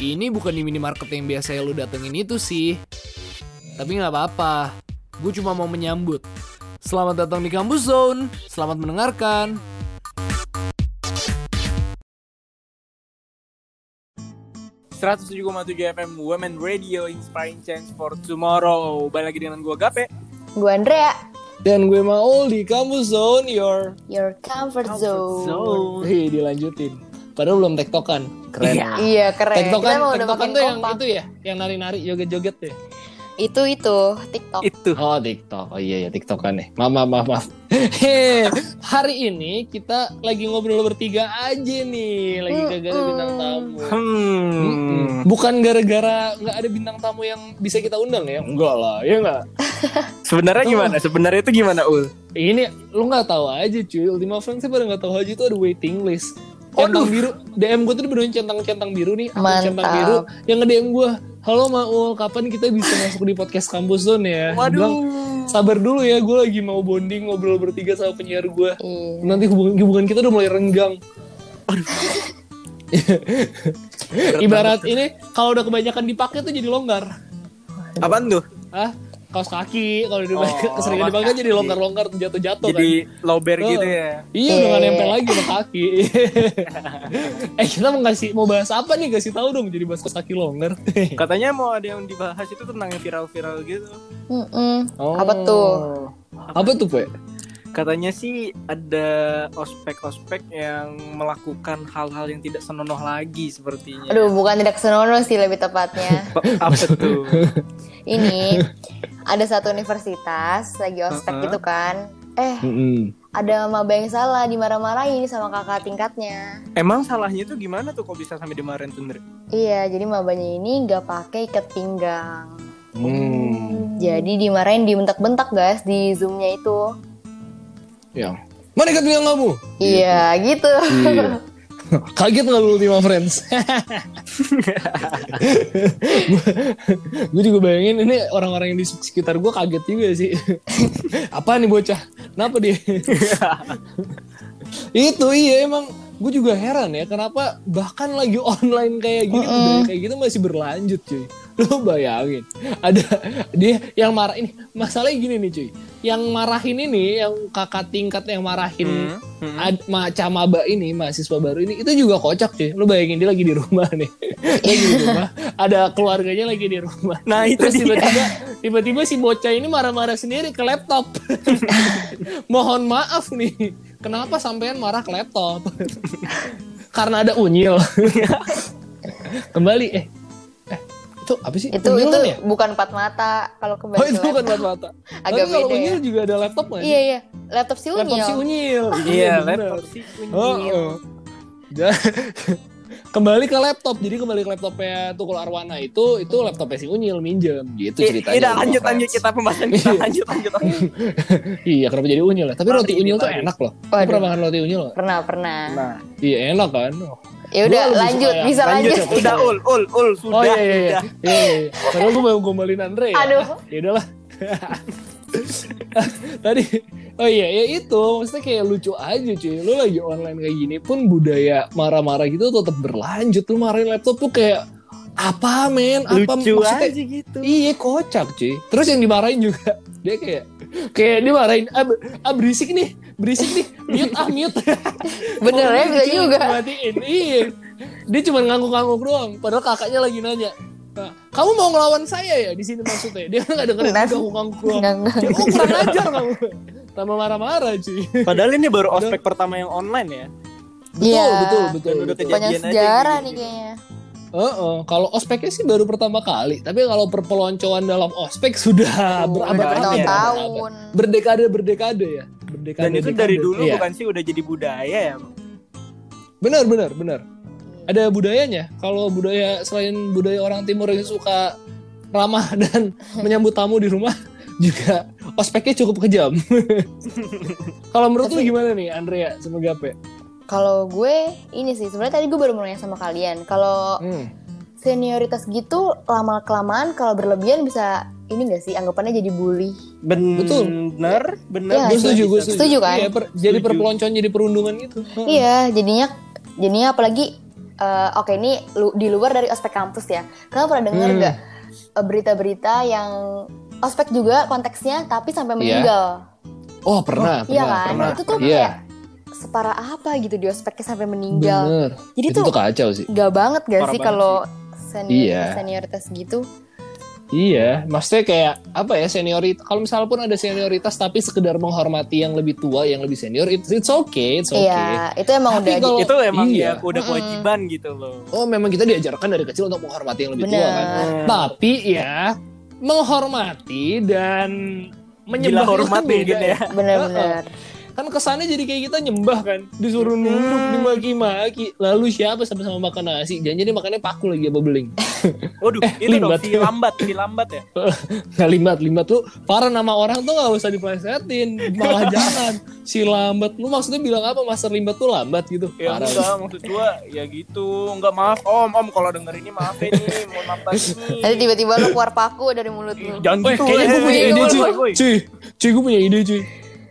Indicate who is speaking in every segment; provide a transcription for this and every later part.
Speaker 1: Ini bukan di minimarket yang biasanya lu datengin itu sih. Tapi nggak apa-apa, gue cuma mau menyambut. Selamat datang di Kampus Zone, selamat mendengarkan.
Speaker 2: FM Women Radio Inspiring Change for Tomorrow. Balik lagi dengan gue Gape.
Speaker 3: Gue Andrea,
Speaker 1: Dan gue mau di Kampus Zone your...
Speaker 3: your comfort, zone.
Speaker 1: Hei, dilanjutin. Padahal belum tektokan. Keren.
Speaker 2: Iya.
Speaker 3: Iya keren.
Speaker 1: Tektokan,
Speaker 3: Kita mau udah
Speaker 1: tektokan
Speaker 3: makin
Speaker 1: tuh yang
Speaker 3: kompak.
Speaker 1: itu ya, yang nari-nari joget-joget tuh. ya?
Speaker 3: itu itu TikTok.
Speaker 2: Itu.
Speaker 1: Oh TikTok, oh iya ya TikTok kan nih. Maaf maaf maaf. maaf. Heh, hari ini kita lagi ngobrol bertiga aja nih, lagi gak ada
Speaker 3: Mm-mm.
Speaker 1: bintang tamu. Mm-mm.
Speaker 2: Hmm.
Speaker 1: Bukan gara-gara nggak ada bintang tamu yang bisa kita undang ya? Enggak lah, ya enggak.
Speaker 2: Sebenarnya
Speaker 1: Tuh.
Speaker 2: gimana? Sebenarnya itu gimana Ul?
Speaker 1: Ini lu nggak tahu aja cuy, Ultima Friends saya pada nggak tahu aja itu ada waiting list. Centang
Speaker 2: Aduh.
Speaker 1: biru, DM gue tuh beneran centang-centang biru nih, akun
Speaker 3: Mantap.
Speaker 1: centang biru yang nge-DM gue. Halo Maul, kapan kita bisa masuk di podcast kampus zone ya? Dia bilang, sabar dulu ya, gue lagi mau bonding ngobrol bertiga sama penyiar gue.
Speaker 3: Iya.
Speaker 1: nanti hubungan hubungan kita udah mulai renggang. Ibarat ini kalau udah kebanyakan dipakai tuh jadi longgar.
Speaker 2: Apaan tuh?
Speaker 1: Hah? Kaos kaki kalau udah
Speaker 2: Oh,
Speaker 1: keseringan
Speaker 2: kaos
Speaker 1: dipakai jadi
Speaker 2: kaki.
Speaker 1: longgar-longgar jatuh-jatuh kan.
Speaker 2: Jadi lober
Speaker 1: Oh.
Speaker 2: gitu ya.
Speaker 1: Iya udah gak
Speaker 3: Eh.
Speaker 1: nempel lagi sama kaki. eh kita mau ngasih mau bahas apa nih kasih tahu dong jadi bahas kaos kaki longgar.
Speaker 2: Katanya mau ada yang dibahas itu tentang yang viral-viral gitu.
Speaker 3: Mm-mm.
Speaker 2: Oh.
Speaker 3: Apa tuh?
Speaker 1: Apa tuh, Pak?
Speaker 2: Katanya sih ada ospek-ospek yang melakukan hal-hal yang tidak senonoh lagi sepertinya.
Speaker 3: Aduh, bukan tidak senonoh sih lebih tepatnya.
Speaker 2: Pa- Apa tuh?
Speaker 3: Ini ada satu universitas lagi ospek
Speaker 2: Uh-uh.
Speaker 1: Uh-huh.
Speaker 3: gitu kan. Eh, ada maba yang salah dimarah-marahin sama kakak tingkatnya.
Speaker 2: Emang salahnya tuh gimana tuh kok bisa sampai dimarahin tuh Ndre?
Speaker 3: Iya, jadi mabanya ini gak pakai ikat pinggang.
Speaker 2: Hmm.
Speaker 1: Hmm.
Speaker 3: Jadi dimarahin dibentak-bentak guys di zoomnya itu.
Speaker 1: Ya. Mana ikat bilang kamu?
Speaker 3: Iya, gitu.
Speaker 1: Iya. Kaget gak lu Ultima Friends? gue juga bayangin ini orang-orang yang di sekitar gue kaget juga sih. Apa nih bocah? Kenapa dia? Itu iya emang gue juga heran ya kenapa bahkan lagi online kayak gini
Speaker 3: Mm-mm.
Speaker 1: budaya kayak gitu masih berlanjut cuy. Lo bayangin ada dia yang marah ini masalahnya gini nih cuy. Yang marahin ini yang kakak tingkat yang marahin
Speaker 2: Hmm, hmm.
Speaker 1: ad, macam maba ini mahasiswa baru ini itu juga kocak cuy lu bayangin dia lagi di rumah nih lagi di rumah ada keluarganya lagi di rumah
Speaker 2: Nah itu
Speaker 1: terus
Speaker 2: dia.
Speaker 1: tiba-tiba tiba-tiba si bocah ini marah-marah sendiri ke laptop mohon maaf nih kenapa sampean marah ke laptop karena ada unyil kembali eh eh, itu apa sih
Speaker 3: Itu
Speaker 1: Unyil
Speaker 3: itu
Speaker 1: kan ya
Speaker 3: bukan empat mata kalau kembali
Speaker 1: Oh
Speaker 3: ke
Speaker 1: itu
Speaker 3: laptop.
Speaker 1: bukan mata-mata.
Speaker 3: agak
Speaker 1: Tapi kalau
Speaker 3: beda
Speaker 1: unyil
Speaker 3: ya.
Speaker 1: juga ada laptop nggak? sih?
Speaker 3: Iya iya, laptop si
Speaker 1: Laptop si
Speaker 3: Unyil.
Speaker 1: unyil.
Speaker 2: Iya,
Speaker 1: bener.
Speaker 2: laptop sih kunci. ya."
Speaker 1: Oh, oh. Ja- kembali ke laptop. Jadi kembali ke laptopnya Tukul Arwana itu itu laptopnya si Unyil minjem gitu
Speaker 2: Eh,
Speaker 1: ceritanya.
Speaker 2: udah, lanjut
Speaker 1: Friends.
Speaker 2: lanjut kita pembahasan kita
Speaker 1: Iya.
Speaker 2: lanjut lanjut. lanjut.
Speaker 1: Iya, kenapa jadi Unyil ya? Tapi
Speaker 2: Mari,
Speaker 1: roti Unyil tuh
Speaker 2: mari.
Speaker 1: enak loh. Lu
Speaker 3: Waduh.
Speaker 1: pernah makan roti Unyil nggak?
Speaker 3: Pernah pernah.
Speaker 2: Nah,
Speaker 1: Iya, enak kan? Oh,
Speaker 3: Ya
Speaker 1: Gua
Speaker 3: udah
Speaker 1: lebih
Speaker 3: lanjut,
Speaker 1: suka yang
Speaker 3: bisa
Speaker 2: lanjut.
Speaker 3: lanjut.
Speaker 1: lanjut. ya.
Speaker 2: Udah ul ul ul
Speaker 1: iya
Speaker 2: sudah.
Speaker 1: iya iya.
Speaker 2: sudah.
Speaker 1: Iya, iya, iya. Padahal gue mau gombalin Andre ya.
Speaker 3: Aduh.
Speaker 1: Ya udahlah. Tadi oh iya ya itu maksudnya kayak lucu aja cuy. Lu lagi online kayak gini pun budaya marah-marah gitu tetap berlanjut. Lu marahin laptop tuh kayak apa men? Apa
Speaker 2: Lucu
Speaker 1: maksudnya-
Speaker 2: aja gitu.
Speaker 1: Iya kocak cuy. Terus yang dimarahin juga dia kayak kayak dimarahin ah, be- ah, berisik nih, berisik nih, mute ah mute.
Speaker 3: Bener ya, bisa
Speaker 1: Cuy,
Speaker 3: juga.
Speaker 1: dimatiin. Iya. Dia cuma ngangguk-ngangguk doang. Padahal kakaknya lagi nanya. "Nah, Kamu mau ngelawan saya ya di sini maksudnya? Dia nggak dengerin
Speaker 3: Nah.
Speaker 1: ngangguk-ngangguk doang.
Speaker 3: Enggak enggak.
Speaker 1: Cuy, oh, kurang ajar kamu. Tambah marah-marah cuy.
Speaker 2: Padahal ini baru ospek pertama yang online ya.
Speaker 1: Betul,
Speaker 3: Iya.
Speaker 1: betul, betul,
Speaker 2: Dan udah
Speaker 1: betul.
Speaker 2: kejadian.
Speaker 3: Banyak
Speaker 2: aja
Speaker 3: sejarah
Speaker 1: ya.
Speaker 2: gitu.
Speaker 3: nih kayaknya.
Speaker 1: Heeh, kalau ospeknya sih baru pertama kali, tapi kalau perpeloncoan dalam ospek sudah berabad-abad ya.
Speaker 3: Bertahun-tahun.
Speaker 1: berdekade berdekade ya berdekade
Speaker 2: Dan itu dari
Speaker 1: dekade.
Speaker 2: dulu
Speaker 1: Iya.
Speaker 2: bukan sih udah jadi budaya ya.
Speaker 1: benar benar benar ada budayanya kalau budaya selain budaya orang timur yang suka ramah dan menyambut tamu di rumah juga ospeknya cukup kejam kalau menurut lu
Speaker 3: Tapi-
Speaker 1: gimana nih Andrea sama Gape
Speaker 3: Kalau gue ini sih sebenarnya tadi gue baru mau nanya sama kalian. Kalau
Speaker 1: Hmm.
Speaker 3: senioritas gitu lama kelamaan kalau berlebihan bisa ini gak sih anggapannya jadi bully.
Speaker 1: Betul.
Speaker 2: Bener, bener.
Speaker 3: Iya,
Speaker 1: gue Nah,
Speaker 3: sih.
Speaker 1: setuju gue
Speaker 3: Setuju kan?
Speaker 1: Iya, per- jadi
Speaker 2: Setuju.
Speaker 1: perpeloncoan jadi perundungan gitu
Speaker 3: Iya, jadinya jadinya apalagi eh, oke ini lu- di luar dari ospek kampus ya. Kamu pernah dengar
Speaker 1: Hmm.
Speaker 3: nggak eh, berita-berita yang ospek juga konteksnya tapi
Speaker 1: Iya.
Speaker 3: sampai meninggal?
Speaker 1: Oh pernah,
Speaker 3: iya
Speaker 1: pernah,
Speaker 3: kan?
Speaker 1: pernah.
Speaker 3: Itu tuh
Speaker 1: Iya,
Speaker 3: kayak separah apa gitu di ospeknya sampai meninggal.
Speaker 1: bener.
Speaker 3: Jadi
Speaker 1: Itu
Speaker 3: tuh
Speaker 1: tuh kacau sih.
Speaker 3: nggak banget gak
Speaker 2: Parah
Speaker 3: sih
Speaker 2: banget
Speaker 3: kalau senior
Speaker 1: Iya.
Speaker 3: senioritas gitu?
Speaker 1: Iya, maksudnya kayak apa ya senioritas. Kalau misal pun ada senioritas tapi sekedar menghormati yang lebih tua, yang lebih senior, it's, it's okay, it's okay.
Speaker 3: Iya, itu emang
Speaker 1: Tapi
Speaker 3: udah
Speaker 1: kalau-
Speaker 2: itu emang
Speaker 1: Iya.
Speaker 2: ya udah
Speaker 3: Mm-mm.
Speaker 2: kewajiban gitu loh.
Speaker 1: Oh, memang kita diajarkan dari kecil untuk menghormati yang lebih tua kan.
Speaker 3: Bener.
Speaker 1: Tapi ya menghormati dan
Speaker 2: Gila
Speaker 1: menyembah
Speaker 2: hormat
Speaker 1: itu beda
Speaker 2: mungkin ya.
Speaker 3: bener-bener.
Speaker 1: Kan kesannya jadi kayak kita nyembah kan, disuruh
Speaker 2: Hmm.
Speaker 1: nunduk dimaki-maki. Lalu siapa sama-sama makan nasi? Jangan jadi makannya paku lagi apa beling.
Speaker 2: Waduh,
Speaker 1: Eh,
Speaker 2: itu dong
Speaker 1: limbat.
Speaker 2: si lambat, si lambat ya.
Speaker 1: Nah, limbat, limbat lu para nama orang tuh nggak usah diplesetin, malah jangan. Si lambat, lu maksudnya bilang apa? Master limbat tuh lambat gitu.
Speaker 2: Ya
Speaker 1: Parah.
Speaker 2: enggak, maksud gua ya gitu. Enggak maaf, Om. Om kalau denger ini maaf ya nih, mohon maaf banget nih.
Speaker 3: Nanti tiba-tiba lu keluar paku dari mulut lu.
Speaker 2: Jangan
Speaker 1: Weh,
Speaker 2: gitu.
Speaker 1: kayaknya gue
Speaker 2: eh,
Speaker 1: punya
Speaker 2: eh,
Speaker 1: ide
Speaker 2: eh,
Speaker 1: cuy.
Speaker 2: woi, woi.
Speaker 1: Cuy, cuy gue punya ide cuy.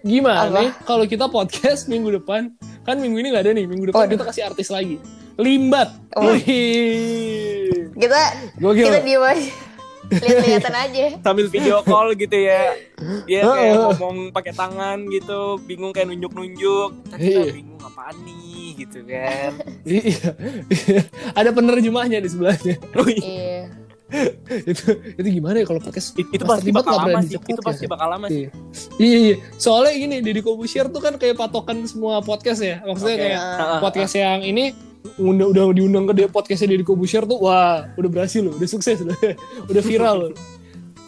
Speaker 1: Gimana
Speaker 3: Apa?
Speaker 1: nih kalau kita podcast minggu depan? Kan minggu ini nggak ada nih. Minggu depan
Speaker 3: Waduh.
Speaker 1: kita kasih artis lagi. Limbat.
Speaker 3: Oh.
Speaker 1: Wih.
Speaker 3: Kita
Speaker 1: Gokil.
Speaker 3: kita diem aja. Lihat-lihatan aja.
Speaker 2: Sambil video call gitu ya. Dia kayak
Speaker 1: Heeh.
Speaker 2: ngomong pakai tangan gitu, bingung kayak nunjuk-nunjuk. Kita
Speaker 1: Iya.
Speaker 2: bingung apaan nih gitu kan.
Speaker 1: Iya. Iya. ada penerjemahnya di sebelahnya.
Speaker 3: Iya.
Speaker 1: itu itu gimana ya kalau podcast?
Speaker 2: It-
Speaker 1: Master
Speaker 2: itu pasti
Speaker 1: Limbat
Speaker 2: bakal
Speaker 1: nggak
Speaker 2: lama
Speaker 1: berani
Speaker 2: sih.
Speaker 1: dicekot
Speaker 2: Itu pasti
Speaker 1: ya?
Speaker 2: bakal lama sih.
Speaker 1: Iya. Iya, iya. Soalnya gini, Deddy Corbusier tuh kan kayak patokan semua podcast ya. Maksudnya
Speaker 2: Oke. Ah,
Speaker 1: kayak
Speaker 2: Heeh.
Speaker 1: podcast yang ini udah udah diundang ke dia podcastnya Deddy Corbusier tuh wah udah berhasil loh udah sukses loh udah viral loh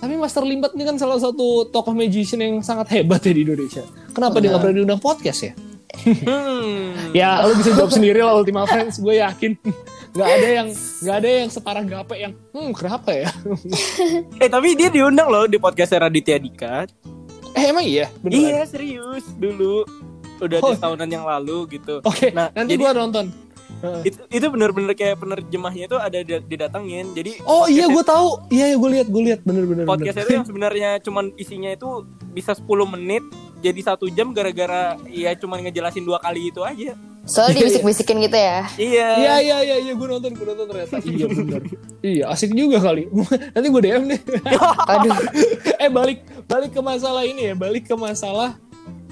Speaker 1: tapi Master Limbat ini kan salah satu tokoh magician yang sangat hebat ya di Indonesia kenapa
Speaker 2: Ah.
Speaker 1: dia nggak pernah diundang podcast ya
Speaker 2: Hmm.
Speaker 1: ya lo bisa jawab sendiri lah Ultima Friends gue yakin nggak ada yang nggak ada yang separah gape yang hmm kenapa ya
Speaker 2: Eh tapi dia diundang loh di podcast Raditya Dika.
Speaker 1: eh emang iya beneran
Speaker 2: Iya serius dulu udah
Speaker 1: Oh.
Speaker 2: di tahunan yang lalu gitu.
Speaker 1: oke
Speaker 2: Nah,
Speaker 1: nanti gue
Speaker 2: jadi-
Speaker 1: nonton Heeh.
Speaker 2: Itu, itu bener-bener kayak penerjemahnya itu ada di- didatangin. Jadi
Speaker 1: Oh iya gue tahu, iya iya gue lihat gue lihat bener-bener.
Speaker 2: podcast itu yang sebenarnya cuman isinya itu bisa 10 menit jadi satu jam gara-gara ya cuman ngejelasin dua kali itu aja.
Speaker 3: Soalnya dibisik-bisikin gitu ya.
Speaker 2: Iya.
Speaker 1: Iya iya iya iya gue nonton gue nonton ternyata iya bener. iya asik juga kali. Nanti gue DM deh.
Speaker 3: Aduh.
Speaker 1: eh balik balik ke masalah ini ya, balik ke masalah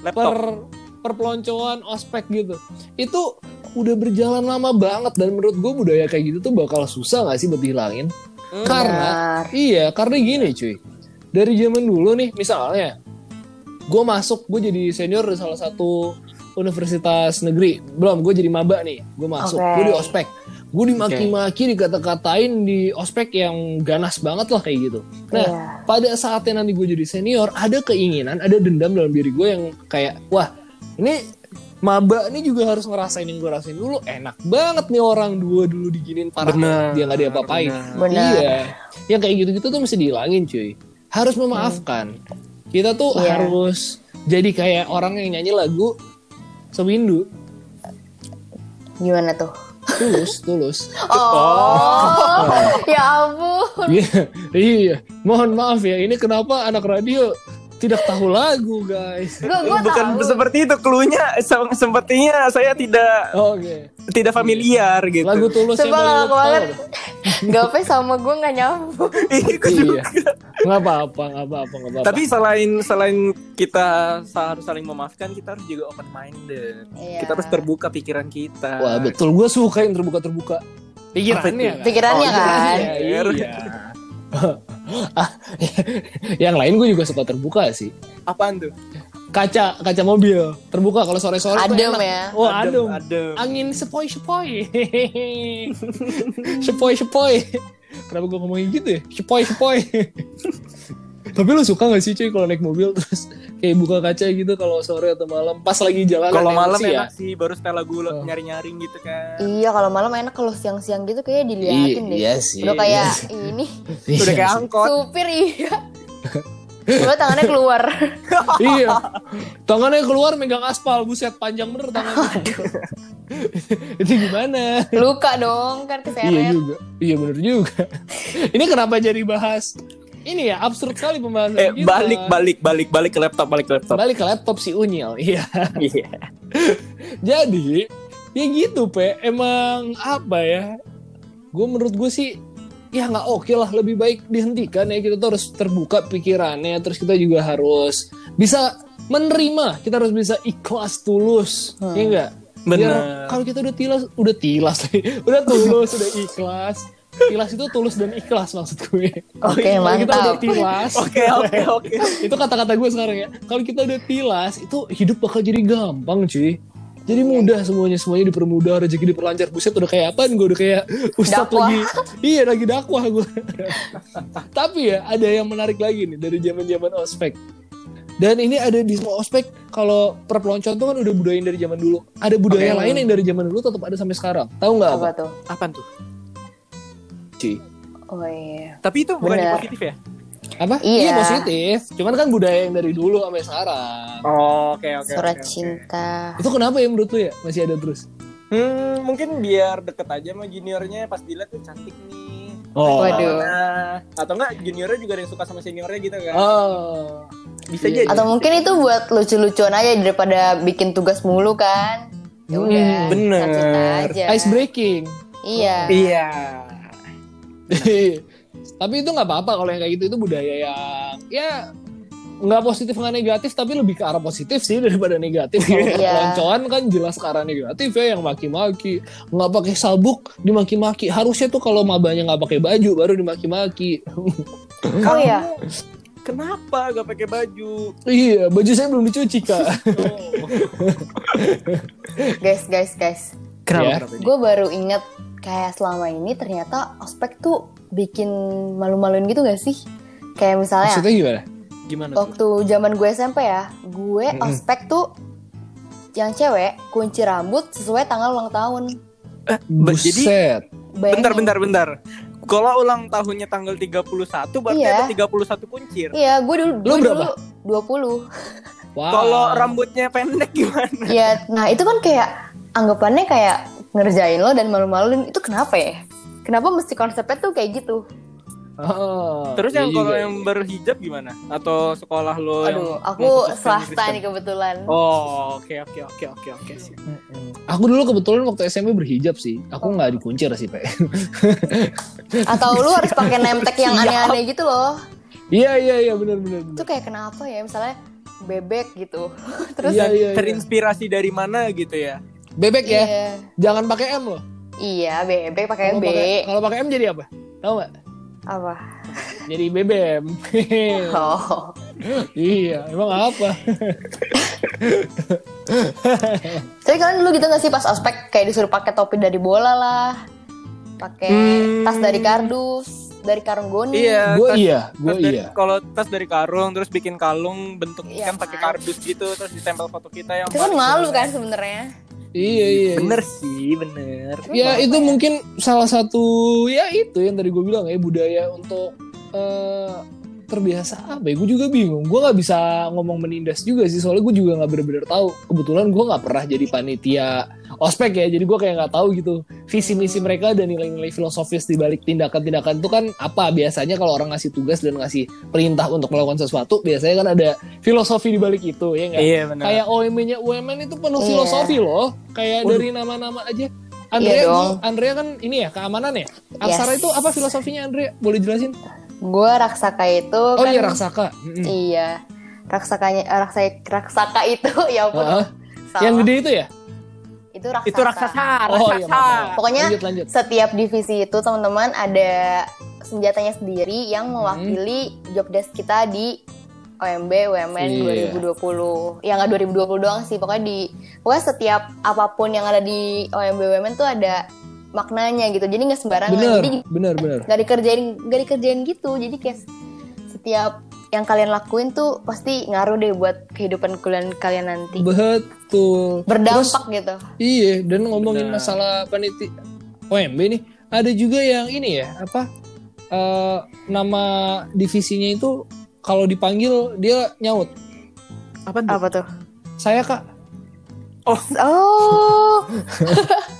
Speaker 1: per
Speaker 2: Laptop.
Speaker 1: perpeloncoan ospek gitu. Itu udah berjalan lama banget dan menurut gue budaya kayak gitu tuh bakal susah gak sih buat dihilangin?
Speaker 2: Hmm.
Speaker 1: Karena
Speaker 3: Benar.
Speaker 1: Iya, karena gini cuy. Dari zaman dulu nih, misalnya gue masuk, gue jadi senior di salah satu universitas negeri. Belum, gue jadi maba nih. Gue masuk,
Speaker 3: Oke.
Speaker 1: gue di ospek. Gue dimaki-maki, dikata-katain di ospek yang ganas banget lah kayak gitu. Nah,
Speaker 3: Iya.
Speaker 1: pada saatnya nanti gue jadi senior, ada keinginan, ada dendam dalam diri gue yang kayak, wah ini maba ini juga harus ngerasain yang gue rasain dulu. Enak banget nih orang dua dulu diginin parah banget, dia nggak diapa-apain.
Speaker 2: benar.
Speaker 3: Benar.
Speaker 1: Iya. Yang kayak gitu-gitu tuh mesti dihilangin cuy. Harus memaafkan. Kita tuh
Speaker 3: Iya.
Speaker 1: harus jadi kayak orang yang nyanyi lagu sewindu.
Speaker 3: Gimana tuh?
Speaker 1: Tulus, tulus.
Speaker 3: Oh. ya ampun.
Speaker 1: Iya, iya. Mohon maaf ya, ini kenapa anak radio tidak tahu lagu guys.
Speaker 3: Gue gue
Speaker 2: Bukan
Speaker 3: tahu.
Speaker 2: seperti itu cluenya se- sepertinya saya tidak
Speaker 1: Oke.
Speaker 2: tidak familiar gitu.
Speaker 1: Lagu tulus
Speaker 3: Sumpah
Speaker 1: Bang
Speaker 3: lama
Speaker 1: Iwan,
Speaker 3: banget.
Speaker 1: tahu nggak?
Speaker 3: Gape sama gue nggak nyambung.
Speaker 2: Iya, gua juga.
Speaker 1: Iya. Nggak apa-apa, nggak apa-apa, nggak apa-apa.
Speaker 2: Tapi selain selain kita harus saling memaafkan, kita harus juga open minded.
Speaker 3: Iya.
Speaker 2: Kita harus terbuka pikiran kita.
Speaker 1: wah betul, gue suka yang terbuka-terbuka. Pikirannya. kan?
Speaker 3: Pikirannya
Speaker 2: Oh,
Speaker 3: kan.
Speaker 1: Iya. iya. Ah, yang lain gue juga suka terbuka sih.
Speaker 2: Apaan tuh?
Speaker 1: kaca kaca mobil terbuka kalau sore sore
Speaker 3: Adem ya.
Speaker 1: oh adem,
Speaker 2: Adem.
Speaker 1: angin sepoi sepoi sepoi sepoi kenapa gue ngomongin gitu ya sepoi sepoi tapi lu suka gak sih cuy kalau naik mobil terus kayak buka kaca gitu kalau sore atau malam pas lagi jalan
Speaker 2: Kalau ya?
Speaker 1: ada
Speaker 2: malam
Speaker 1: emosi ya?
Speaker 2: enak sih, baru setel lagu lo-
Speaker 1: Oh.
Speaker 2: nyari-nyaring gitu kan.
Speaker 3: Iya kalau malam enak kalau siang-siang gitu kayaknya
Speaker 1: Iya,
Speaker 3: diliatin deh.
Speaker 1: iya sih.
Speaker 3: Udah kayak ini
Speaker 1: Iya
Speaker 2: Udah kayak
Speaker 1: sih.
Speaker 2: angkot.
Speaker 3: supir iya. Gue tangannya keluar.
Speaker 1: iya. Tangannya keluar megang aspal, buset panjang bener tangannya. Itu gimana?
Speaker 3: Luka dong kan
Speaker 1: Iya
Speaker 3: keseret.
Speaker 1: juga. Iya bener juga. ini kenapa jadi bahas? Ini ya absurd sekali pembahasan
Speaker 2: Eh,
Speaker 1: kita.
Speaker 2: balik, balik, balik, balik ke laptop, balik ke laptop.
Speaker 1: Balik ke laptop si Unyil. Iya.
Speaker 2: Iya.
Speaker 1: jadi ya gitu pe emang apa ya gue menurut gue sih ya nggak oke lah lebih baik dihentikan ya kita tuh harus terbuka pikirannya terus kita juga harus bisa menerima kita harus bisa ikhlas tulus
Speaker 3: Hmm.
Speaker 1: ya enggak
Speaker 2: Benar.
Speaker 1: kalau kita udah tilas udah tilas lagi. udah tulus udah ikhlas tilas itu tulus dan ikhlas maksud gue
Speaker 3: Oke,
Speaker 1: Kalau kita udah
Speaker 3: mantap.
Speaker 1: tilas
Speaker 2: Oke oke oke.
Speaker 1: itu kata-kata gue sekarang ya kalau kita udah tilas itu hidup bakal jadi gampang cuy jadi
Speaker 3: Iya.
Speaker 1: mudah semuanya semuanya dipermudah rezeki diperlancar buset udah kayak apaan gue udah kayak ustad
Speaker 3: Dakwah.
Speaker 1: lagi iya lagi dakwah gue tapi ya ada yang menarik lagi nih dari zaman zaman ospek dan ini ada di semua ospek kalau perpeloncoan tuh kan udah budayain dari zaman dulu ada budaya
Speaker 3: Oke.
Speaker 1: lain yang dari zaman dulu tetap ada sampai sekarang tahu nggak apa
Speaker 3: Apa tuh?
Speaker 2: Apaan tuh?
Speaker 1: cuy
Speaker 3: Oh iya.
Speaker 2: Tapi itu bukan
Speaker 3: Benar.
Speaker 2: positif ya?
Speaker 1: apa
Speaker 3: Iya.
Speaker 1: positif cuman kan budaya yang dari dulu sampai sekarang
Speaker 2: Oh, oke oke.
Speaker 3: Surat
Speaker 2: oke, oke.
Speaker 3: cinta.
Speaker 1: itu kenapa ya menurut lu ya masih ada terus
Speaker 2: Hmm, mungkin biar deket aja sama juniornya pas dilihat tuh cantik nih.
Speaker 1: Oh.
Speaker 3: Waduh.
Speaker 2: Nah, atau enggak juniornya juga ada yang suka sama seniornya gitu kan?
Speaker 1: Oh.
Speaker 2: Bisa
Speaker 1: iya.
Speaker 2: jadi.
Speaker 3: Atau mungkin ya? itu buat lucu-lucuan aja daripada bikin tugas mulu kan. Ya
Speaker 1: Hmm,
Speaker 3: udah,
Speaker 2: bener.
Speaker 3: surat cinta aja.
Speaker 1: Ice breaking.
Speaker 3: Iya.
Speaker 2: Iya.
Speaker 1: tapi itu nggak apa-apa kalau yang kayak gitu itu budaya yang ya nggak positif nggak negatif tapi lebih ke arah positif sih daripada negatif. Kalau
Speaker 3: Iya.
Speaker 1: peloncoan kan jelas ke arah negatif ya yang maki-maki, nggak pakai sabuk dimaki-maki. Harusnya tuh kalau mabanya nggak pakai baju baru dimaki-maki.
Speaker 3: Oh iya.
Speaker 2: Kenapa gak pakai baju?
Speaker 1: iya, baju saya belum dicuci kak.
Speaker 3: Oh, Guys, guys, guys.
Speaker 1: Kenapa,
Speaker 2: Kenapa?
Speaker 1: kenapa
Speaker 3: Gue baru inget kayak selama ini ternyata ospek tuh bikin malu-maluin gitu gak sih? Kayak misalnya
Speaker 1: Maksudnya gimana?
Speaker 2: Gimana tuh?
Speaker 3: waktu zaman gue SMP ya, gue
Speaker 1: Mm-mm.
Speaker 3: ospek tuh yang cewek kunci rambut sesuai tanggal ulang tahun.
Speaker 2: Ba- jadi-
Speaker 1: Buset.
Speaker 3: Bayangin.
Speaker 2: Bentar bentar bentar. Kalau ulang tahunnya tanggal 31 berarti
Speaker 3: Iya.
Speaker 2: ada 31 kuncir.
Speaker 3: Iya, gue dulu
Speaker 1: Lu
Speaker 3: gue
Speaker 1: berapa?
Speaker 3: dulu 20.
Speaker 1: Wow.
Speaker 2: Kalau rambutnya pendek gimana?
Speaker 3: Iya, nah itu kan kayak anggapannya kayak ngerjain lo dan malu-maluin itu kenapa ya? Kenapa mesti konsepnya tuh kayak gitu?
Speaker 1: Oh,
Speaker 2: Terus yang
Speaker 1: iya
Speaker 2: kalau
Speaker 1: juga.
Speaker 2: yang berhijab gimana? Atau sekolah lo Oh, yang
Speaker 3: Aduh, aku
Speaker 2: mengkhususkan
Speaker 3: swasta
Speaker 2: Kristen?
Speaker 3: nih kebetulan.
Speaker 2: kan? Oh, oke oke oke oke oke. sip.
Speaker 1: Aku dulu kebetulan waktu SMP berhijab sih. Aku nggak dikuncir sih, Pak.
Speaker 3: Atau lu harus pakai nemtek yang aneh-aneh gitu loh.
Speaker 1: Iya, iya, iya, benar benar. benar.
Speaker 3: Itu kayak kenapa ya? Misalnya bebek gitu. Terus
Speaker 1: Iya, iya, iya.
Speaker 2: Terinspirasi dari mana gitu ya?
Speaker 1: Bebek ya.
Speaker 3: iya.
Speaker 1: Jangan pakai M loh.
Speaker 3: Iya, bebek pakai
Speaker 1: Kalau
Speaker 3: B.
Speaker 1: pakai kalau pakai M jadi apa? Tahu nggak?
Speaker 3: Apa?
Speaker 1: Jadi BBM.
Speaker 3: Oh.
Speaker 1: iya, emang apa?
Speaker 3: Tapi kalian dulu gitu gak sih pas ospek kayak disuruh pakai topi dari bola lah, pakai
Speaker 2: Hmm.
Speaker 3: tas dari kardus, dari karung goni.
Speaker 2: Iya.
Speaker 1: Gue
Speaker 2: tas-
Speaker 1: iya, gue
Speaker 2: tas dari-
Speaker 1: iya.
Speaker 2: Kalau tas dari karung terus bikin kalung bentuk
Speaker 3: Iya,
Speaker 2: kan pakai
Speaker 3: kan.
Speaker 2: kardus gitu terus ditempel foto kita yang
Speaker 3: Itu kan
Speaker 2: paling
Speaker 3: malu
Speaker 2: jelek.
Speaker 3: kan sebenarnya.
Speaker 1: Iya, iya.
Speaker 2: Bener sih, bener.
Speaker 1: Ya
Speaker 3: Iya.
Speaker 1: itu mungkin salah satu ya itu yang tadi gue bilang ya budaya untuk eh, terbiasa apa ya gue juga bingung gue nggak bisa ngomong menindas juga sih soalnya gue juga nggak bener-bener tahu kebetulan gue nggak pernah jadi panitia ospek ya jadi gue kayak nggak tahu gitu visi misi mereka dan nilai-nilai filosofis di balik tindakan-tindakan itu kan apa biasanya kalau orang ngasih tugas dan ngasih perintah untuk melakukan sesuatu biasanya kan ada filosofi di balik itu ya nggak
Speaker 2: Iya bener.
Speaker 1: Kayak OMB-nya UMN itu penuh
Speaker 3: Iya.
Speaker 1: filosofi loh. Kayak
Speaker 2: Waduh.
Speaker 1: dari nama-nama aja. Andrea,
Speaker 3: Iya
Speaker 1: gua-
Speaker 3: dong.
Speaker 1: Andrea kan ini ya keamanan ya. Aksara
Speaker 3: Yes.
Speaker 1: itu apa filosofinya Andrea? Boleh jelasin?
Speaker 3: Gue raksaka itu
Speaker 1: Oh
Speaker 3: kan.
Speaker 1: iya raksaka. Mm-mm.
Speaker 3: Iya. Raksakanya eh, raksaka, raksaka itu ya ampun.
Speaker 1: Heeh.
Speaker 3: salah.
Speaker 1: Yang gede itu ya?
Speaker 3: Itu raksasa.
Speaker 2: Itu raksasa,
Speaker 1: Oh iya.
Speaker 2: raksasa.
Speaker 1: maaf.
Speaker 3: Pokoknya-
Speaker 1: lanjut lanjut.
Speaker 3: Setiap divisi itu teman-teman ada senjatanya sendiri yang
Speaker 1: Hmm.
Speaker 3: mewakili job desk kita di OMB UMN
Speaker 1: Iya.
Speaker 3: 2020. Ya nggak 2020 doang sih, pokoknya di pokoknya setiap apapun yang ada di OMB UMN tuh ada maknanya gitu. Jadi nggak sembarangan.
Speaker 1: Bener
Speaker 3: Jadi
Speaker 1: bener bener.
Speaker 3: nggak dikerjain nggak dikerjain gitu. Jadi kayak setiap yang kalian lakuin tuh pasti ngaruh deh buat kehidupan kalian kalian nanti.
Speaker 1: Betul.
Speaker 3: Berdampak gitu.
Speaker 1: Iya, dan ngomongin
Speaker 2: Benar.
Speaker 1: masalah panitia OMB nih, ada juga yang ini ya, apa eh, nama divisinya itu kalau dipanggil dia nyaut.
Speaker 2: Apa tuh?
Speaker 3: Apa tuh?
Speaker 1: Saya Kak,
Speaker 3: Oh,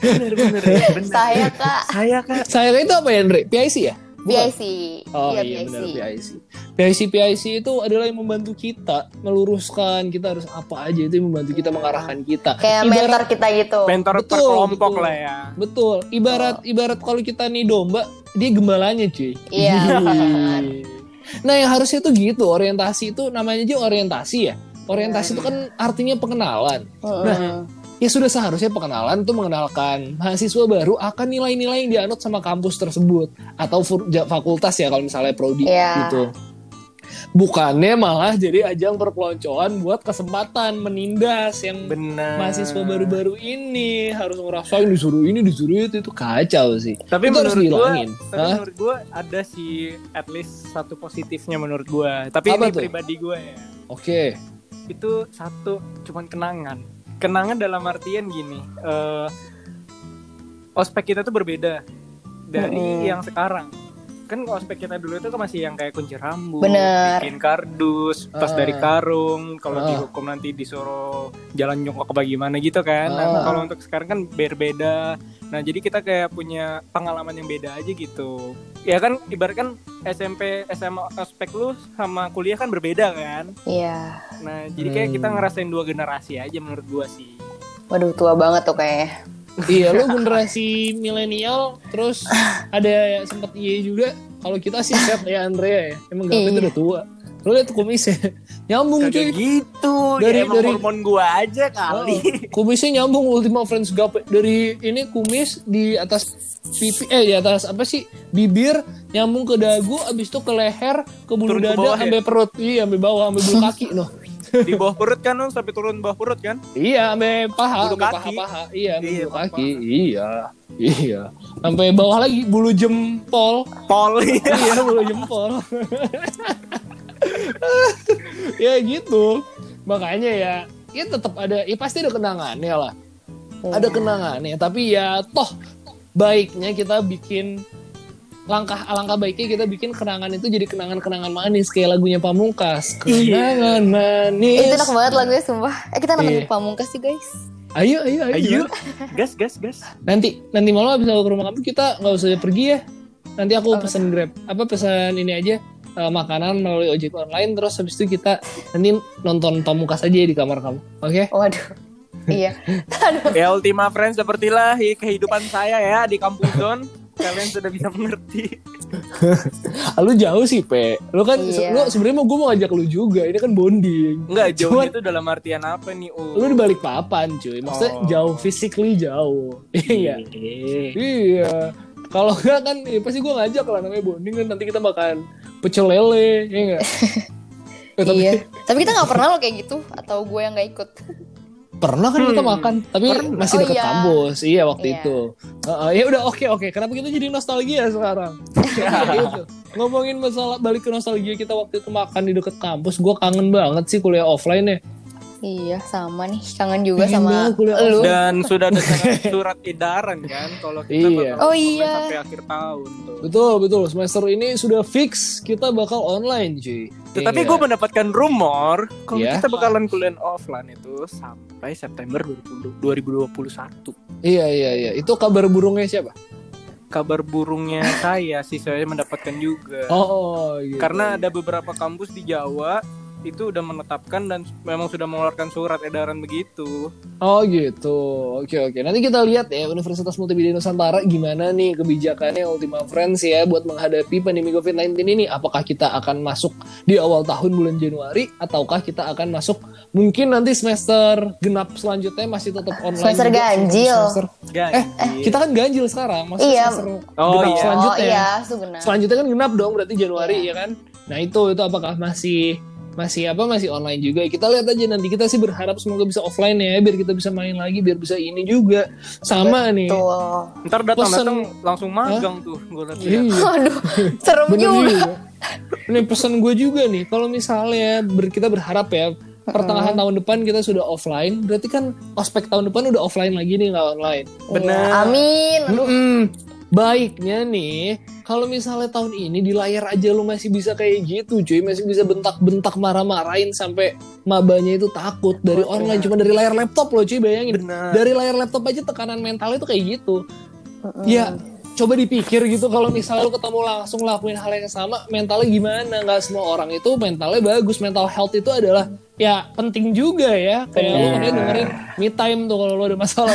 Speaker 2: Bener bener ya, bener.
Speaker 3: saya Kak.
Speaker 2: Saya kan
Speaker 1: saya Kak itu apa ya, Andre? PIC ya? Bukan?
Speaker 3: PIC.
Speaker 1: Oh
Speaker 3: Iya,
Speaker 1: iya
Speaker 3: PIC.
Speaker 1: benar PIC. PIC PIC itu adalah yang membantu kita meluruskan kita harus apa aja itu yang membantu kita
Speaker 3: Iya.
Speaker 1: mengarahkan kita.
Speaker 3: Kayak mentor kita gitu.
Speaker 2: Mentor
Speaker 1: Betul,
Speaker 2: per kelompok
Speaker 1: betul.
Speaker 2: lah ya.
Speaker 1: Betul. Ibarat ibarat kalau kita nih domba, dia gembalanya, cuy.
Speaker 3: Oh. Iya, benar.
Speaker 1: nah, yang harusnya tuh gitu. Orientasi itu namanya aja orientasi ya. Orientasi
Speaker 3: Iya.
Speaker 1: itu kan artinya pengenalan.
Speaker 3: Mm-mm.
Speaker 1: Nah, Ya sudah seharusnya pengenalan tuh mengenalkan mahasiswa baru akan nilai-nilai yang dianut sama kampus tersebut atau fur- ja- fakultas ya kalau misalnya prodi
Speaker 3: Iya.
Speaker 1: gitu. Bukannya malah jadi ajang perpeloncoan buat kesempatan menindas yang
Speaker 2: Benar.
Speaker 1: mahasiswa baru-baru ini harus ngerasain disuruh ini disuruh itu itu kacau sih
Speaker 2: Tapi
Speaker 1: itu harus
Speaker 2: menurut gua,
Speaker 1: dihilangin
Speaker 2: tapi
Speaker 1: Hah?
Speaker 2: menurut gua ada sih at least satu positifnya menurut gua. Tapi
Speaker 1: Apa
Speaker 2: ini
Speaker 1: tuh?
Speaker 2: pribadi gua ya.
Speaker 1: oke
Speaker 2: Itu satu cuman kenangan. Kenangan dalam artian gini, eh ospek kita tuh berbeda dari
Speaker 3: Mm-mm.
Speaker 2: yang sekarang. Kan ospek kita dulu itu kan masih yang kayak kunci rambut,
Speaker 3: Bener.
Speaker 2: bikin kardus,
Speaker 1: Ah.
Speaker 2: tas dari karung, kalau
Speaker 1: Ah.
Speaker 2: dihukum nanti disuruh jalan nyongkok bagaimana gitu kan. Nah,
Speaker 1: Ah.
Speaker 2: kalau untuk sekarang kan berbeda. Nah, jadi kita kayak punya pengalaman yang beda aja gitu. Ya kan ibaratkan SMP, SMA ospek lu sama kuliah kan berbeda kan.
Speaker 3: Iya.
Speaker 2: Nah, jadi kayak
Speaker 1: Hmm.
Speaker 2: kita ngerasain dua generasi aja menurut gua sih.
Speaker 3: Waduh tua banget tuh kayaknya.
Speaker 1: iya lu generasi milenial terus ada yang sempet iya juga kalau kita sih set ya Andrea ya emang gak itu
Speaker 3: Iya.
Speaker 1: udah tua lu lihat kumisnya nyambung
Speaker 2: Kagak
Speaker 1: cuy
Speaker 2: gitu.
Speaker 1: Dari-
Speaker 2: ya emang
Speaker 1: dari-
Speaker 2: hormon gua aja kali.
Speaker 1: Oh, kumisnya nyambung Ultima Friends Gap dari ini kumis di atas pipi eh di atas apa sih bibir nyambung ke dagu abis itu ke leher ke bulu
Speaker 2: Turun ke
Speaker 1: dada
Speaker 2: bawah ya?
Speaker 1: sampai perut iya sampai bawah sampai bulu kaki loh
Speaker 2: Di bawah perut kan lu sampai turun bawah perut kan?
Speaker 1: Iya, sampai paha,
Speaker 2: Bulu
Speaker 1: sampai
Speaker 2: kaki.
Speaker 1: paha-paha. Iya, sampai
Speaker 2: Iya,
Speaker 1: bulu
Speaker 2: paha.
Speaker 1: kaki. Iya. Iya. Sampai bawah lagi bulu jempol.
Speaker 2: Poli.
Speaker 1: iya, bulu jempol. ya gitu. Makanya ya, ya tetap ada, ya pasti ada kenangannya lah. Ada
Speaker 3: Oh.
Speaker 1: kenangannya, tapi ya toh baiknya kita bikin langkah alangkah baiknya kita bikin kenangan itu jadi kenangan-kenangan manis kayak lagunya Pamungkas. Kenangan manis.
Speaker 3: Iya. Itu enak banget lagunya sumpah. Eh kita
Speaker 1: Iya.
Speaker 3: nonton pamungkas sih guys.
Speaker 1: Ayo, ayo, ayo.
Speaker 2: Ayo, gas gas gas.
Speaker 1: Nanti nanti malam abis aku ke rumah kamu kita nggak usah pergi ya. Nanti aku
Speaker 3: Apa?
Speaker 1: pesan grab. Apa pesan ini aja eh, makanan melalui ojek online terus habis itu kita nanti nonton pamungkas aja di kamar kamu. Oke?
Speaker 3: Waduh. iya. Aduh.
Speaker 2: Ya Ultima Friends sepertilah hi- kehidupan saya ya di kampung Don. Kalian sudah bisa mengerti.
Speaker 1: Ah, Lu jauh sih, Pe. Lu kan
Speaker 3: Iya.
Speaker 1: lu sebenarnya mau gue mau ngajak lu juga. Ini kan bonding.
Speaker 2: Enggak, jauh gitu.
Speaker 1: Cuman-
Speaker 2: itu dalam artian apa nih, U?
Speaker 1: Lu di balik papan, cuy. Maksudnya
Speaker 2: Oh.
Speaker 1: jauh physically jauh. Iya.
Speaker 2: Iya.
Speaker 1: Iya. Kalau enggak kan ya pasti gue ngajak lah namanya bonding kan nanti kita makan pecel lele, ya enggak? Eh, tapi
Speaker 3: iya. Tapi kita nggak pernah loh kayak gitu atau gue yang nggak ikut.
Speaker 1: pernah kan kita
Speaker 2: Hmm.
Speaker 1: makan tapi
Speaker 2: Pernah.
Speaker 1: masih
Speaker 3: Oh,
Speaker 1: deket
Speaker 3: iya.
Speaker 1: kampus iya waktu
Speaker 3: Iya.
Speaker 1: itu Heeh, ya udah oke oke kenapa kita jadi nostalgia sekarang Iya, gitu. ngomongin masalah balik ke nostalgia kita waktu itu makan di deket kampus gue kangen banget sih kuliah offline ya
Speaker 3: Iya sama nih kangen juga
Speaker 1: Pengen
Speaker 3: sama
Speaker 1: banget kuliah
Speaker 3: lu.
Speaker 2: Dan sudah ada surat- surat edaran kan kalau kita
Speaker 1: Iya.
Speaker 2: bakal
Speaker 3: Oh,
Speaker 2: online
Speaker 3: iya.
Speaker 2: sampai akhir tahun tuh.
Speaker 1: betul betul semester ini sudah fix kita bakal online cuy
Speaker 2: Tetapi
Speaker 1: Iya.
Speaker 2: gue mendapatkan rumor kalau
Speaker 1: Iya.
Speaker 2: kita bakalan kuliah offline itu sampai September 2020 2021.
Speaker 1: iya iya iya itu kabar burungnya siapa
Speaker 2: Kabar burungnya saya sih saya mendapatkan juga.
Speaker 1: oh, oh gitu.
Speaker 2: Iya. Karena ada beberapa kampus di Jawa itu udah menetapkan dan memang sudah mengeluarkan surat edaran begitu.
Speaker 1: Oh gitu, oke oke. Nanti kita lihat ya Universitas Multimedia Nusantara gimana nih kebijakannya Ultima Friends ya buat menghadapi pandemi COVID-19 ini. Apakah kita akan masuk di awal tahun bulan Januari ataukah kita akan masuk mungkin nanti semester genap selanjutnya masih tetap online.
Speaker 3: Semester
Speaker 1: juga,
Speaker 3: ganjil.
Speaker 1: semester-
Speaker 2: Ganjil.
Speaker 1: Eh, Kita kan ganjil sekarang, maksudnya
Speaker 3: Iya.
Speaker 1: semester
Speaker 2: Oh
Speaker 1: genap
Speaker 2: iya.
Speaker 1: selanjutnya.
Speaker 3: Oh iya, Sugena.
Speaker 1: Selanjutnya kan genap dong berarti Januari ya kan. Nah itu itu apakah masih masih apa masih online juga kita lihat aja nanti kita sih berharap semoga bisa offline ya biar kita bisa main lagi biar bisa ini juga sama nih
Speaker 3: Betul.
Speaker 2: Ntar datang datang
Speaker 1: Pesen-
Speaker 2: langsung magang tuh gue liat
Speaker 1: Iya,
Speaker 3: Aduh, serem
Speaker 1: bener
Speaker 3: juga.
Speaker 1: juga. Ini pesan gue juga nih, kalau misalnya ber- kita berharap ya pertengahan tahun depan kita sudah offline, berarti kan ospek tahun depan udah offline lagi nih nggak online.
Speaker 2: Bener.
Speaker 3: Iya, Amin.
Speaker 1: Mm-mm. Baiknya nih, kalau misalnya tahun ini di layar aja lu masih bisa kayak gitu, cuy, masih bisa bentak-bentak marah-marahin sampai mabanya itu takut dari
Speaker 2: Bener.
Speaker 1: online, cuma dari layar laptop loh, cuy, bayangin.
Speaker 2: Benar.
Speaker 1: Dari layar laptop aja tekanan mental itu kayak gitu. Ya, coba dipikir gitu kalau misalnya lu ketemu langsung lakuin hal yang sama mentalnya gimana nggak semua orang itu mentalnya bagus mental health itu adalah ya penting juga ya kayak lu
Speaker 3: Bener.
Speaker 1: makanya dengerin me time tuh kalau lu ada masalah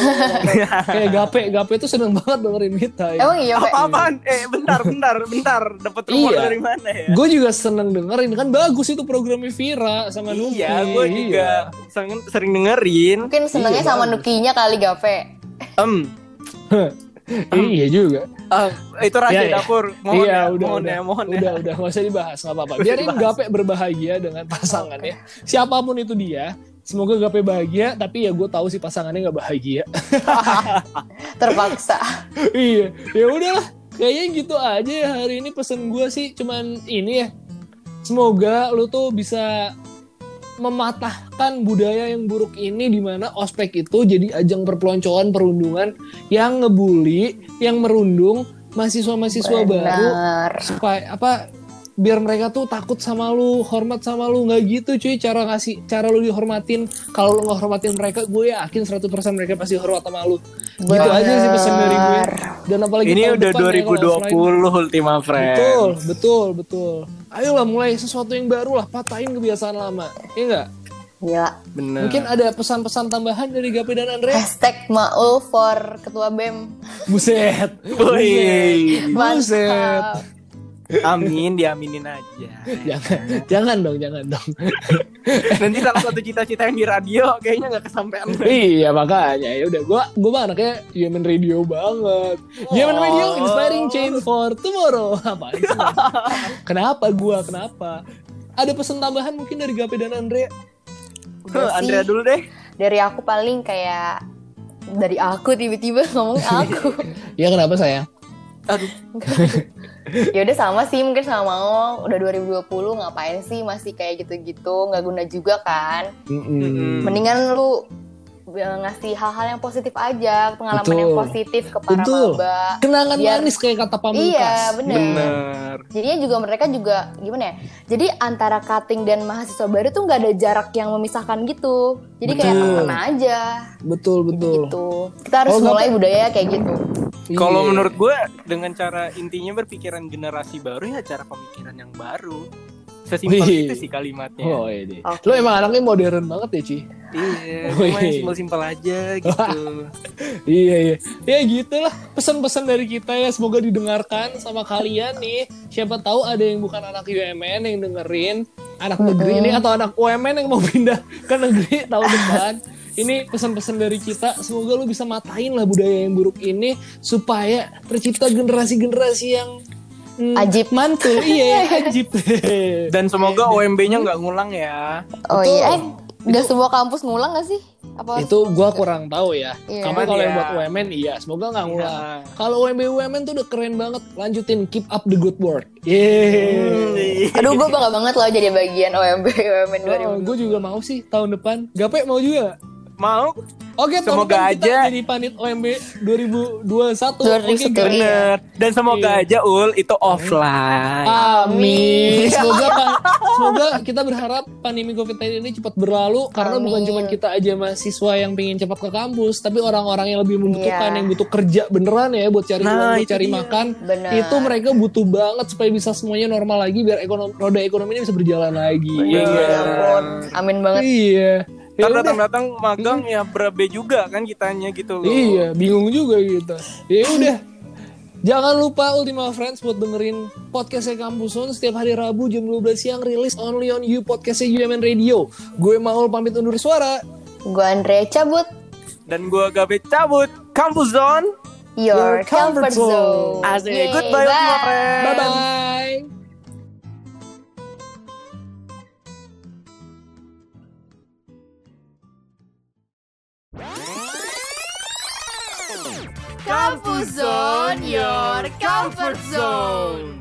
Speaker 1: kayak gape gape itu seneng banget dengerin me time
Speaker 3: Emang iya, Pe?
Speaker 2: Apa-apaan? Eh, bentar, bentar, bentar. Dapat rumor
Speaker 1: Iya.
Speaker 2: dari mana ya?
Speaker 1: gue juga seneng dengerin kan bagus itu programnya Vira sama Nuki
Speaker 2: Iya, gue juga sering, sering dengerin.
Speaker 3: Mungkin senengnya
Speaker 1: Iya,
Speaker 3: sama
Speaker 1: bagus.
Speaker 3: Nukinya kali Gape.
Speaker 2: Em,
Speaker 1: Iya. iya juga
Speaker 2: eh, itu
Speaker 1: Iya,
Speaker 2: rahasia
Speaker 1: iya.
Speaker 2: dapur. Mohon
Speaker 1: Iya,
Speaker 2: ya,
Speaker 1: udah,
Speaker 2: mohon
Speaker 1: udah.
Speaker 2: ya, mohon ya.
Speaker 1: udah udah nggak usah dibahas nggak apa-apa
Speaker 2: Nggak usah
Speaker 1: biarin
Speaker 2: dibahas.
Speaker 1: gape berbahagia dengan pasangannya siapapun itu dia semoga gape bahagia tapi ya gue tahu si pasangannya nggak bahagia
Speaker 3: Terpaksa.
Speaker 1: iya ya udahlah kayaknya gitu aja ya hari ini pesen gue sih cuman ini ya semoga lu tuh bisa mematahkan budaya yang buruk ini di mana ospek itu jadi ajang perpeloncoan perundungan yang ngebully yang merundung mahasiswa-mahasiswa baru
Speaker 3: Benar.
Speaker 1: supaya apa biar mereka tuh takut sama lu hormat sama lu nggak gitu cuy cara ngasih cara lu dihormatin kalau lu nggak hormatin mereka gue yakin 100% mereka pasti hormat sama lu gitu aja sih pesan dari gue
Speaker 3: Benar.
Speaker 1: dan apalagi
Speaker 2: Ini
Speaker 1: tahun
Speaker 2: udah
Speaker 1: depan ya kalau offline.
Speaker 2: 2020 Ultima Friends.
Speaker 1: betul betul betul ayolah mulai sesuatu yang baru lah patahin kebiasaan lama Iya enggak
Speaker 3: Gila.
Speaker 2: Bener.
Speaker 1: mungkin ada pesan-pesan tambahan dari Gapi dan Andre
Speaker 3: Hashtag Maul for Ketua E BEM.
Speaker 1: buset
Speaker 2: Woi.
Speaker 1: buset
Speaker 3: Mantap.
Speaker 2: Amin, diaminin aja.
Speaker 1: jangan jangan dong jangan dong
Speaker 2: Nanti salah satu cita-cita yang di radio kayaknya nggak kesampaian.
Speaker 1: Iya makanya ya udah gua gua mah anaknya Yemen Radio banget. Yemen
Speaker 2: Oh.
Speaker 1: Radio inspiring change for tomorrow. Apa Kenapa gua kenapa? Ada pesan tambahan mungkin dari Gape dan Andre?
Speaker 3: Udah sih.
Speaker 2: Andrea dulu deh.
Speaker 3: Dari aku paling kayak dari aku tiba-tiba ngomong aku.
Speaker 1: Ya kenapa saya?
Speaker 2: Aduh,
Speaker 3: ya udah sama sih mungkin sama mau udah 2020 ngapain sih masih kayak gitu-gitu nggak guna juga kan
Speaker 1: Hmm.
Speaker 2: Mm-mm.
Speaker 3: mendingan lu eh, ngasih hal-hal yang positif aja pengalaman
Speaker 1: Betul.
Speaker 3: yang positif ke para
Speaker 1: Betul.
Speaker 3: maba
Speaker 1: Kenangan
Speaker 3: Biar-
Speaker 1: manis kayak kata pamungkas.
Speaker 3: Iya, bener.
Speaker 2: bener.
Speaker 3: jadinya juga mereka juga gimana ya jadi antara cutting dan mahasiswa baru tuh nggak ada jarak yang memisahkan gitu jadi kayak
Speaker 1: Betul.
Speaker 3: temen aja
Speaker 1: Betul betul.
Speaker 3: gitu kita harus
Speaker 1: Kalau nggak-
Speaker 3: mulai budaya kayak gitu
Speaker 2: Kalau
Speaker 1: Iya.
Speaker 2: menurut gue dengan cara intinya berpikiran generasi baru ya cara pemikiran yang baru. Sesimpel
Speaker 1: Wih.
Speaker 2: itu sih kalimatnya.
Speaker 1: Oh ini.
Speaker 3: Oke.
Speaker 1: Lo emang anaknya modern banget ya, Ci?
Speaker 2: Iya,
Speaker 1: Wih.
Speaker 2: cuma yang simpel-simpel aja gitu.
Speaker 1: Iya iya. Ya gitulah pesan-pesan dari kita ya semoga didengarkan sama kalian nih. Siapa tahu ada yang bukan anak UMN yang dengerin anak negeri ini atau anak UMN yang mau pindah ke negeri tahun depan. Ini pesan-pesan dari kita. Semoga lu bisa matain lah budaya yang buruk ini supaya tercipta generasi-generasi yang mm,
Speaker 3: Ajib.
Speaker 1: mantul. Iya, yang ajib.
Speaker 2: Dan semoga OMB-nya nggak ngulang ya.
Speaker 3: oh
Speaker 1: Betul.
Speaker 3: iya eh, nggak semua kampus ngulang nggak sih apa
Speaker 1: Itu gua kurang tahu ya.
Speaker 3: Iya.
Speaker 1: Kamu kalau yang
Speaker 2: Iya.
Speaker 1: buat UMN iya, semoga nggak ngulang.
Speaker 2: Iya.
Speaker 1: Kalau UMB UMN tuh udah keren banget. Lanjutin keep up the good work. Yeay.
Speaker 2: Hmm.
Speaker 3: aduh gue bangga banget loh jadi bagian OMB
Speaker 1: Oh,
Speaker 3: UMN
Speaker 1: gue juga mau sih tahun depan. Gape mau juga. nggak?
Speaker 2: Mau?
Speaker 1: Oke, tahun depan
Speaker 2: Semoga
Speaker 1: kita
Speaker 2: aja.
Speaker 1: jadi panit OMB 2021. Oke,
Speaker 3: 2021.
Speaker 1: Gape.
Speaker 2: Bener. Dan semoga aja Ul itu offline.
Speaker 1: Ah. Amin. Semoga pan- semoga kita berharap pandemi COVID-19 ini cepat berlalu karena
Speaker 3: Amin.
Speaker 1: bukan cuma kita aja mahasiswa yang pengen cepat ke kampus, tapi orang-orang yang lebih membutuhkan
Speaker 3: Iya.
Speaker 1: yang butuh kerja beneran ya buat cari
Speaker 2: Nah,
Speaker 1: uang, buat
Speaker 2: itu
Speaker 1: cari
Speaker 2: dia.
Speaker 1: makan.
Speaker 3: Benar.
Speaker 1: Itu mereka butuh banget supaya bisa semuanya normal lagi biar ekonomi roda ekonomi ini bisa berjalan lagi.
Speaker 2: Iya.
Speaker 3: Ya ampun, amin banget.
Speaker 1: Iya. Ya
Speaker 2: Ntar
Speaker 1: udah.
Speaker 2: datang-datang magang ya berabe juga kan kitanya gitu loh.
Speaker 1: Iya, bingung juga gitu. Ya udah. Jangan lupa Ultima Friends buat dengerin podcastnya Kampuson setiap hari Rabu jam 12 siang rilis only on you podcastnya UMN Radio. Gue Maul pamit undur suara.
Speaker 3: Gue Andre cabut.
Speaker 2: Dan gua Gabe cabut. Kampus Zone.
Speaker 3: Your,
Speaker 1: Your
Speaker 3: comfort
Speaker 1: comfort zone.
Speaker 3: zone.
Speaker 2: Asik.
Speaker 3: Yeay,
Speaker 2: Goodbye, Ultima
Speaker 3: bye.
Speaker 2: Friends.
Speaker 1: Bye bye.
Speaker 4: Comfort zone, your comfort zone.